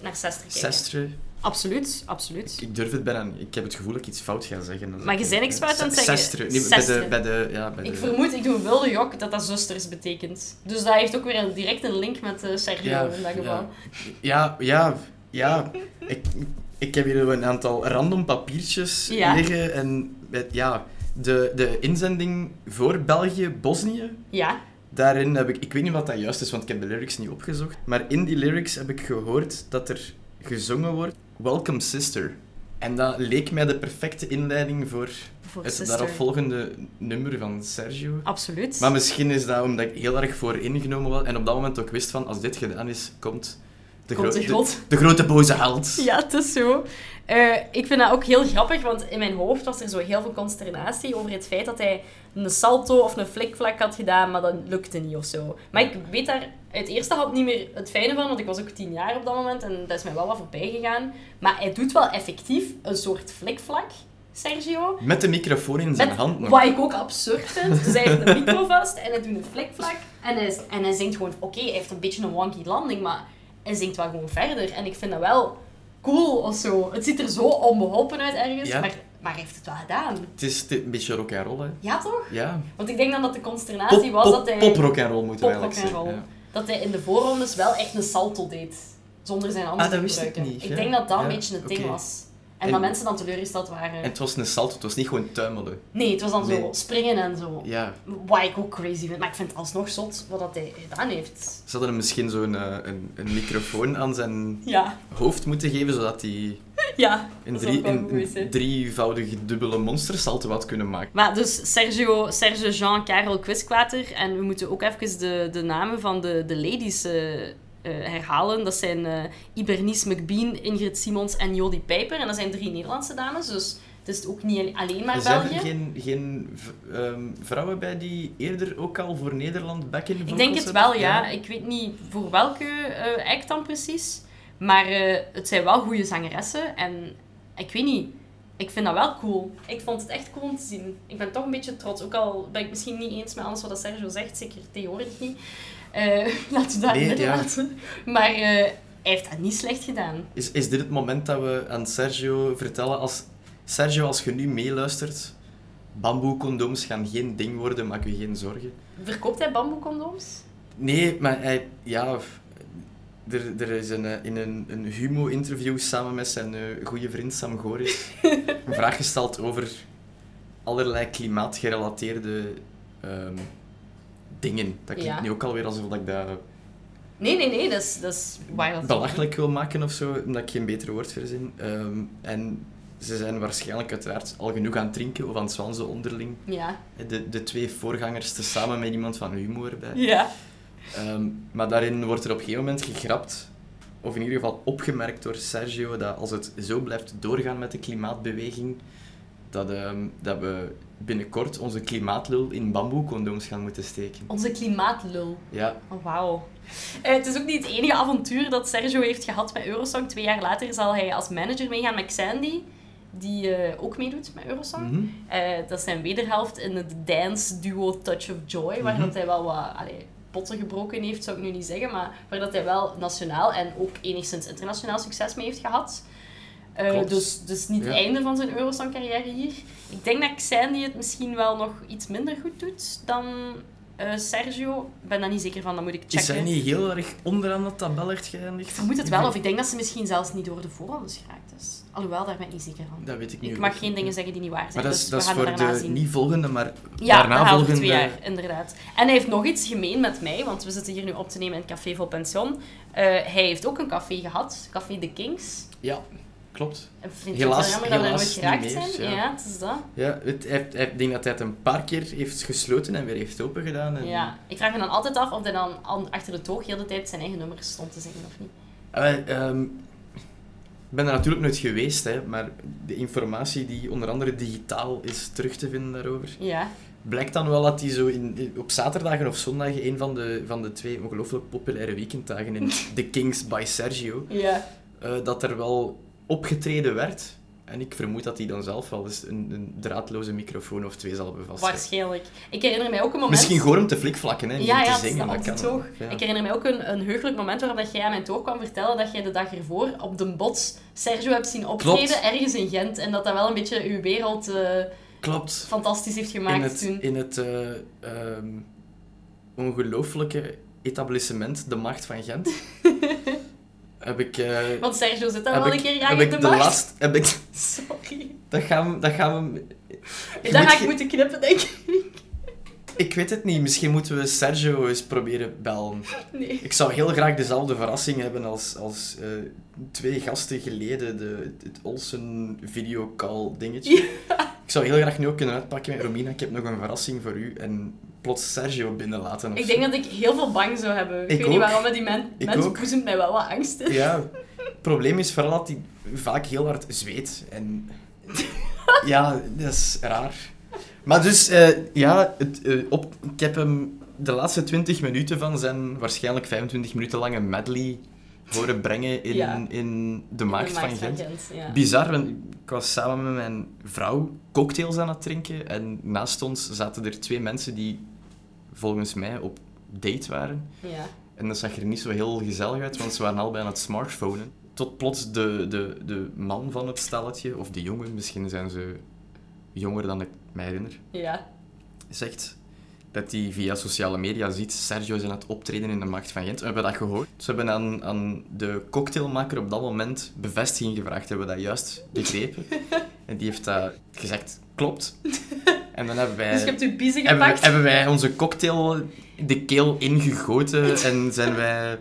C: Naar 60 kijken.
D: Sestre...
C: Absoluut, absoluut.
D: Ik durf het bijna niet. Ik heb het gevoel dat ik iets fout ga zeggen.
C: Maar je bent niks fout aan het
D: Se-
C: zeggen.
D: Sestre. Nee,
C: Sestre.
D: Bij de, bij de, ja, bij
C: Ik
D: de...
C: vermoed, ik doe een wilde jok dat dat zusters betekent. Dus dat heeft ook weer een- direct een link met eh, Sergio in dat geval.
D: ja, ja, ja, ja. Ik, ik heb hier een aantal random papiertjes
C: Ja.
D: liggen. En het- ja, de, de inzending voor België, Bosnië,
C: Ja,
D: daarin heb ik... Ik weet niet wat dat juist is, want ik heb de lyrics niet opgezocht. Maar in die lyrics heb ik gehoord dat er gezongen wordt Welcome Sister. En dat leek mij de perfecte inleiding voor
C: voor
D: het
C: sister.
D: daaropvolgende nummer van Sergio.
C: Absoluut.
D: Maar misschien is dat omdat ik heel erg voor ingenomen was en op dat moment ook wist van als dit gedaan is, komt de,
C: Komt
D: gro-
C: de god.
D: de grote boze held.
C: Ja, het is zo. Eh, ik vind dat ook heel grappig, want in mijn hoofd was er zo heel veel consternatie over het feit dat hij een salto of een flikvlak had gedaan, maar dat lukte niet of zo. Maar ik weet daar uit eerste hand niet meer het fijne van, want ik was ook tien jaar op dat moment en dat is mij wel wat voorbij gegaan. Maar hij doet wel effectief een soort flikvlak, Sergio.
D: Met de microfoon in zijn
C: Met-
D: hand nog.
C: Wat ik ook absurd vind. Dus hij heeft een micro vast en hij doet een flikvlak. En hij, en hij zingt gewoon... Oké, hij heeft een beetje een wonky landing, maar hij zingt wel gewoon verder. En ik vind dat wel cool of zo. Het ziet er zo onbeholpen uit ergens,
D: Ja.
C: maar, maar hij heeft het wel gedaan.
D: Het is te- een beetje rock en roll, hè?
C: Ja, toch?
D: Ja.
C: Want ik denk dan dat de consternatie
D: Pop,
C: was dat hij...
D: pop, pop rock en roll moeten we
C: poprock
D: eigenlijk
C: en
D: zeggen.
C: roll.
D: ja.
C: Dat hij in de voorrondes wel echt een salto deed. Zonder zijn handen
D: Ah, dat
C: te
D: wist ik
C: gebruiken.
D: niet,
C: Ik
D: ja.
C: denk dat dat een
D: Ja,
C: beetje het ding
D: oké.
C: was. En,
D: En-
C: dat mensen dan teleurgesteld waren.
D: En het was een salto, het was niet gewoon tuimelen.
C: Nee, het was dan zo
D: Nee.
C: springen en zo.
D: Ja.
C: Wat ik ook crazy vind. Maar ik vind het alsnog zot wat dat hij gedaan heeft.
D: Ze hadden hem misschien zo'n eh, een, een microfoon aan zijn
C: Ja.
D: hoofd moeten geven, zodat hij
C: Ja.
D: een,
C: dat
D: drie,
C: zou ook wel
D: een-
C: goed
D: een
C: zijn.
D: drievoudige dubbele monstersalto had kunnen maken.
C: Maar dus Sergio, Serge Jean, Karel Quiskwater. En we moeten ook even de, de namen van de, de ladies eh, eh, herhalen. Dat zijn eh, Ibernice McBean, Ingrid Simons en Jodie Pijper. En dat zijn drie Nederlandse dames. Dus het is ook niet alleen maar
D: Zijn
C: België.
D: er geen, geen v- ehm, vrouwen bij die eerder ook al voor Nederland back in
C: Ik denk het wel, ja. Ik weet niet voor welke eh act dan precies. Maar eh, het zijn wel goede zangeressen. En ik weet niet. Ik vind dat wel cool. Ik vond het echt cool om te zien. Ik ben toch een beetje trots. Ook al ben ik misschien niet eens met alles wat dat Sergio zegt. Zeker tegenwoordig niet. Eh laten we dat
D: Nee,
C: niet
D: ja.
C: laten. Maar eh, hij heeft dat niet slecht gedaan.
D: Is, is dit het moment dat we aan Sergio vertellen, als, Sergio, als je nu meeluistert, bamboecondoms gaan geen ding worden, maak je geen zorgen.
C: Verkoopt hij bamboecondoms?
D: Nee, maar hij, ja, f- er, er is een, eh, in een, een humo-interview samen met zijn eh, goede vriend Sam Goris een vraag gesteld over allerlei klimaatgerelateerde ehm, dingen. Dat klinkt
C: Ja.
D: nu ook alweer alsof dat ik dat
C: Nee, nee, nee. Dat is, dat is waar dat
D: belachelijk wil maken of zo, omdat ik geen beter woord verzin. Ehm, en ze zijn waarschijnlijk uiteraard al genoeg aan het drinken of aan het zwansen onderling.
C: Ja.
D: De, de twee voorgangers tezamen met iemand van humor erbij.
C: Ja.
D: Ehm, maar daarin wordt er op een gegeven moment gegrapt, of in ieder geval opgemerkt door Sergio, dat als het zo blijft doorgaan met de klimaatbeweging, dat, ehm, dat we binnenkort onze klimaatlul in bamboecondoms gaan moeten steken.
C: Onze klimaatlul.
D: Ja,
C: Oh, Wauw. Eh, het is ook niet het enige avontuur dat Sergio heeft gehad met Eurosong. Twee jaar later zal hij als manager meegaan met Xandy, die eh, ook meedoet met Eurosong.
D: Mhm.
C: Eh, dat is zijn wederhelft in het dance duo Touch of Joy,
D: Mhm.
C: waar dat hij wel wat allee, potten gebroken heeft, zou ik nu niet zeggen, maar waar dat hij wel nationaal en ook enigszins internationaal succes mee heeft gehad. Eh,
D: Klopt.
C: dus, dus niet het
D: Ja.
C: einde van zijn Eurosong-carrière hier. Ik denk dat Xandy het misschien wel nog iets minder goed doet dan eh, Sergio. Ik ben daar niet zeker van, dat moet ik checken.
D: is hij niet heel erg onderaan dat tabellicht geëindigd?
C: Ik vermoed het wel, of ik denk dat ze misschien zelfs niet door de voorrondes geraakt is. Alhoewel, daar ben ik niet zeker van.
D: Dat weet ik niet.
C: Ik mag geen dingen zeggen die niet waar zijn,
D: Maar dat
C: dus
D: is, dat
C: we gaan
D: is
C: het
D: voor
C: daarna
D: de
C: zien.
D: niet volgende, maar
C: Ja,
D: daarna
C: dat
D: volgende.
C: twee jaar, inderdaad. En hij heeft nog iets gemeen met mij, want we zitten hier nu op te nemen in het Café Vol Pension. Eh, hij heeft ook een café gehad, Café de Kings.
D: Ja, klopt.
C: Ik vind
D: Helaas-
C: het wel jammer dat we daar nooit
D: helaas
C: geraakt
D: niet meer,
C: zijn.
D: ja.
C: Ja. het is dat.
D: Ja, het, hij, heeft- hij- ik denk dat hij het een paar keer heeft gesloten en weer heeft open gedaan. En,
C: Ja. Ik vraag me dan altijd af of hij dan an- achter de toog heel de tijd zijn eigen nummers stond te zingen of niet.
D: Ah, wel, ehm, Eh, ben er natuurlijk nooit geweest, hè, maar de informatie die onder andere digitaal is terug te vinden daarover,
C: Ja.
D: blijkt dan wel dat die zo in, in- op zaterdagen of zondagen een van de, van de twee ongelooflijk populaire weekenddagen in The Kings by Sergio,
C: Ja.
D: eh, dat er wel opgetreden werd. En ik vermoed dat hij dan zelf wel eens een, een draadloze microfoon of twee zal bevastzetten.
C: Waarschijnlijk. Ik herinner mij ook een moment...
D: Misschien gewoon om te flikvlakken, hè, niet
C: Ja,
D: om te
C: ja,
D: zingen.
C: dat is
D: kan
C: altijd toch.
D: wel, ja.
C: Ik herinner mij ook een, een heugelijk moment waarop dat jij aan mijn toor kwam vertellen dat jij de dag ervoor op de bots Sergio hebt zien optreden
D: Klopt.
C: ergens in Gent. En dat dat wel een beetje uw wereld eh,
D: Klopt.
C: fantastisch heeft gemaakt
D: in het,
C: toen.
D: In het eh, ehm, ongelooflijke etablissement, de macht van Gent, heb ik... eh,
C: Want Sergio zit daar
D: heb
C: wel
D: ik-
C: een keer graag
D: heb
C: in
D: ik
C: de
D: de
C: macht.
D: laatst- heb ik-
C: Sorry.
D: Dat gaan we... Dat gaan we Je
C: Daar
D: moet
C: ga ik
D: ge-
C: moeten knippen, denk ik.
D: ik weet het niet, misschien moeten we Sergio eens proberen bellen.
C: Nee.
D: Ik zou heel graag dezelfde verrassing hebben als, als eh, twee gasten geleden, de, het Olsen videocall dingetje. Ik zou heel graag nu ook kunnen uitpakken met Romina, ik heb nog een verrassing voor u en plots Sergio binnenlaten. of
C: Ik
D: zo.
C: denk dat ik heel veel bang zou hebben. Ik,
D: Ik
C: weet
D: ook.
C: niet waarom, maar die men,
D: Ik
C: mens
D: ook.
C: boezemt mij wel wat angst in.
D: Ja, het probleem is vooral dat hij vaak heel hard zweet. En ja, dat is raar. Maar dus, eh, ja, het, eh, op, ik heb hem de laatste 20 minuten van zijn waarschijnlijk 25 minuten lange medley horen brengen in,
C: Ja.
D: in de
C: De
D: markt van
C: maagd
D: Gent.
C: ja.
D: Bizar, want ik was samen met mijn vrouw cocktails aan het drinken en naast ons zaten er twee mensen die volgens mij op date waren.
C: ja.
D: En dat zag er niet zo heel gezellig uit, want ze waren allebei aan het smartphonen. Tot plots de, de, de man van het stelletje, of de jongen, misschien zijn ze jonger dan ik mij herinner,
C: Ja. Dus
D: zegt dat hij via sociale media ziet Sergio is aan het optreden in de macht van Gent. We hebben dat gehoord. Ze hebben aan, aan de cocktailmaker op dat moment bevestiging gevraagd. Hebben we dat juist begrepen? en die heeft dat gezegd, klopt. En dan hebben wij...
C: Dus je hebt uw biezen
D: Eh, Hebben, wij-
C: gepakt.
D: hebben wij onze cocktail de keel ingegoten en zijn wij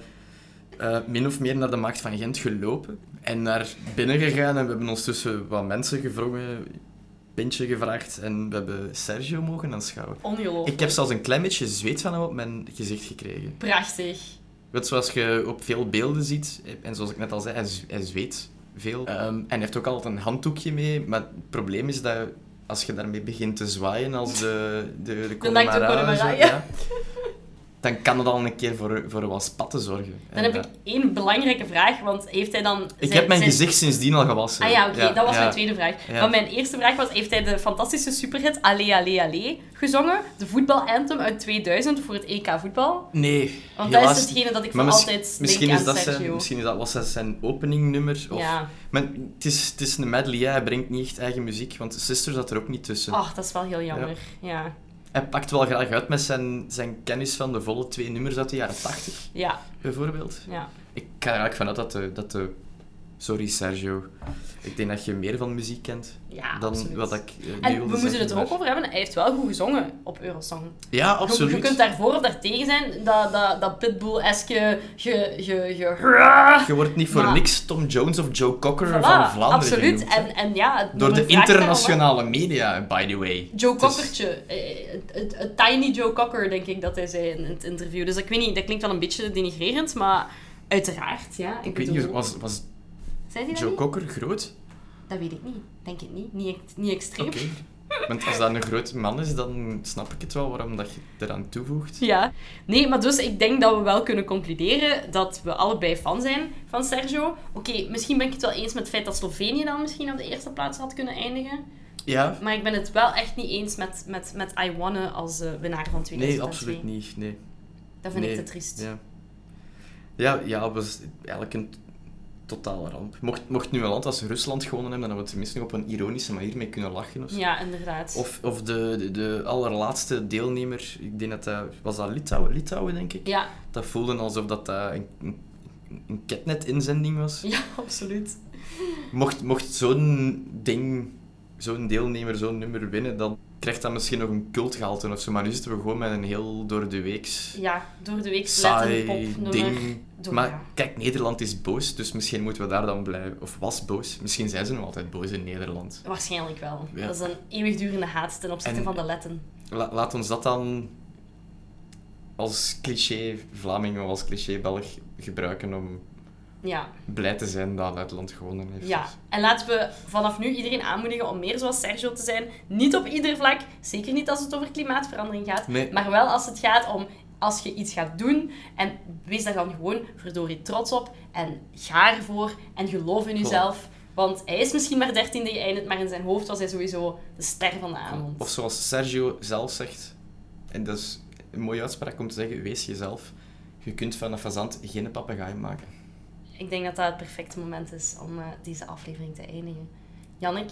D: eh, min of meer naar de markt van Gent gelopen en naar binnen gegaan en we hebben ons tussen wat mensen gevrongen, pintje gevraagd en we hebben Sergio mogen aanschouwen.
C: Ongelooflijk.
D: Ik heb zelfs een klein beetje zweet van hem op mijn gezicht gekregen.
C: Prachtig.
D: Want zoals je op veel beelden ziet, en zoals ik net al zei, hij, z- hij zweet veel. Ehm, en hij heeft ook altijd een handdoekje mee, maar het probleem is dat als je daarmee begint te zwaaien als de, de, de, Connemara en zo,
C: Connemara, ja.
D: dan kan het al een keer voor, voor wat spatten zorgen.
C: Dan
D: En,
C: heb ik
D: eh,
C: één belangrijke vraag, want heeft hij dan...
D: ik
C: zijn-
D: heb mijn
C: zijn-
D: gezicht sindsdien al gewassen.
C: Ah ja, oké, dat was
D: ja.
C: mijn tweede vraag.
D: Ja.
C: Maar mijn eerste vraag was, heeft hij de fantastische superhit Allee Allee Allee gezongen? De voetbalanthem uit 2000 voor het EK voetbal?
D: Nee,
C: Want dat
D: helaas
C: is hetgene dat ik
D: Maar
C: voor
D: misschien-
C: altijd
D: misschien
C: denk
D: is
C: aan
D: dat zijn,
C: Sergio.
D: Misschien is dat, was dat zijn openingnummer. Of,
C: Ja.
D: Maar het is, het is een medley, hè. hij brengt niet echt eigen muziek, want Sisters zat er ook niet tussen.
C: Ach, dat is wel heel jammer. Ja.
D: Hij pakt wel graag uit met zijn, zijn kennis van de volle twee nummers uit de jaren 80,
C: Ja,
D: bijvoorbeeld.
C: ja.
D: Ik ga er eigenlijk vanuit dat de, dat de... Sorry, Sergio. Ik denk dat je meer van muziek kent
C: Ja,
D: dan
C: absoluut.
D: wat ik eh, nu wilde
C: En we moeten
D: zeggen,
C: het er ook
D: maar-
C: over hebben, hij heeft wel goed gezongen op Eurosong.
D: Ja,
C: Oh, Je,
D: absoluut.
C: je kunt daarvoor of daartegen zijn, dat, dat, dat pitbull-eske ge, ge, ge,
D: Je wordt niet voor
C: Maar-
D: niks Tom Jones of Joe Cocker
C: Voilà,
D: van Vlaanderen
C: absoluut.
D: genoemd, hè.
C: En, en ja, het
D: Door de
C: nummer vraagt daarom,
D: internationale media, by the way.
C: hè. Joe
D: Het is-
C: Cockertje. Eh, het- het- het Tiny Joe Cocker, denk ik dat hij zei in het interview. Dus ik weet niet, dat klinkt wel een beetje denigrerend, maar uiteraard, ja. Ik,
D: Ik weet niet,
C: bedoel,
D: was, was
C: Zei hij dat
D: Joe
C: niet?
D: Cocker groot?
C: Dat weet ik niet. Denk het niet. Niet, ex- niet extreem.
D: Oké. Want als dat een groot man is, dan snap ik het wel waarom dat je eraan toevoegt.
C: Ja. Nee, maar dus ik denk dat we wel kunnen concluderen dat we allebei fan zijn van Sergio. Oké, misschien ben ik het wel eens met het feit dat Slovenië dan misschien op de eerste plaats had kunnen eindigen.
D: Ja,
C: Maar ik ben het wel echt niet eens met, met, met I Wanna als eh, winnaar van 2002.
D: nee, absoluut niet. Nee.
C: Dat vind
D: Nee,
C: ik te triest.
D: Ja, ja, ja het was eigenlijk een t- totale ramp. Mocht, mocht nu een land als Rusland gewonnen hebben, dan hadden we tenminste nog op een ironische manier mee kunnen lachen. Of, zo.
C: Ja, inderdaad.
D: of, of de, de, de allerlaatste deelnemer, ik denk dat dat... Was dat Litouwen? Litouwen, denk ik?
C: Ja.
D: Dat voelde alsof dat, dat een, een, een catnet-inzending was.
C: ja, absoluut.
D: Mocht, mocht zo'n ding, zo'n deelnemer, zo'n nummer winnen, dan krijgt dat misschien nog een cultgehalte of zo. Maar nu zitten we gewoon met een heel door de weeks
C: Ja, door de week
D: saai
C: letten popnummer.
D: ding.
C: Door,
D: maar
C: ja.
D: kijk, Nederland is boos, dus misschien moeten we daar dan blijven. Of was boos. Misschien zijn ze nog altijd boos in Nederland.
C: Waarschijnlijk wel.
D: Ja.
C: Dat is een eeuwigdurende haat ten opzichte
D: En-
C: van de letten.
D: La- laat ons dat dan als cliché Vlaming of als cliché Belg gebruiken om,
C: Ja.
D: blij te zijn dat Letland gewonnen heeft.
C: Ja, en laten we vanaf nu iedereen aanmoedigen om meer zoals Sergio te zijn. Niet op ieder vlak, zeker niet als het over klimaatverandering gaat,
D: Nee.
C: maar wel als het gaat om als je iets gaat doen. En wees daar dan gewoon verdorie trots op en ga ervoor en geloof in jezelf. Want hij is misschien maar dertiende geëindigd, maar in zijn hoofd was hij sowieso de ster van de avond.
D: Of zoals Sergio zelf zegt, en dat is een mooie uitspraak om te zeggen, wees jezelf. Je kunt van een fazant geen papegaai maken.
C: Ik denk dat dat het perfecte moment is om eh, deze aflevering te eindigen. Jannik,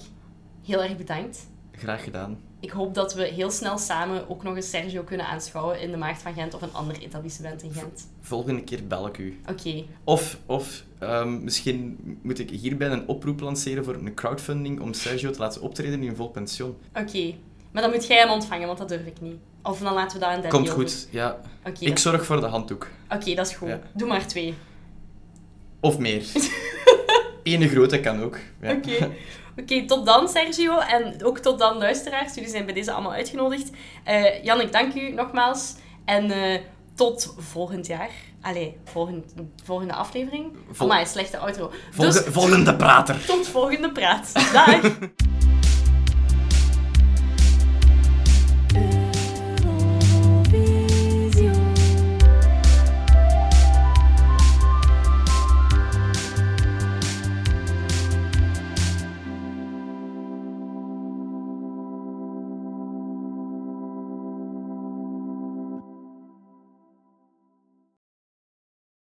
C: heel erg bedankt.
D: Graag gedaan.
C: Ik hoop dat we heel snel samen ook nog eens Sergio kunnen aanschouwen in de Maagd van Gent of een ander etablissement in Gent.
D: Volgende keer bel ik u.
C: Oké,
D: Of, of ehm, misschien moet ik hierbij een oproep lanceren voor een crowdfunding om Sergio te laten optreden in een vol pension.
C: oké. Maar dan moet jij hem ontvangen, want dat durf ik niet. Of dan laten we dat aan Danny
D: Komt
C: over.
D: goed, ja.
C: Oké,
D: Ik
C: dat,
D: zorg voor de handdoek.
C: oké, dat is goed.
D: Ja.
C: Doe maar twee.
D: Of meer. Ene grote kan ook. Ja.
C: Oké. Oké, tot dan Sergio. En ook tot dan luisteraars. Jullie zijn bij deze allemaal uitgenodigd. Eh Jan, ik dank u nogmaals. En eh, tot volgend jaar. Allee, volgend, volgende aflevering.
D: Vol-
C: Amai, slechte outro.
D: Volge-
C: dus
D: Volgende prater.
C: tot volgende praat. Dag!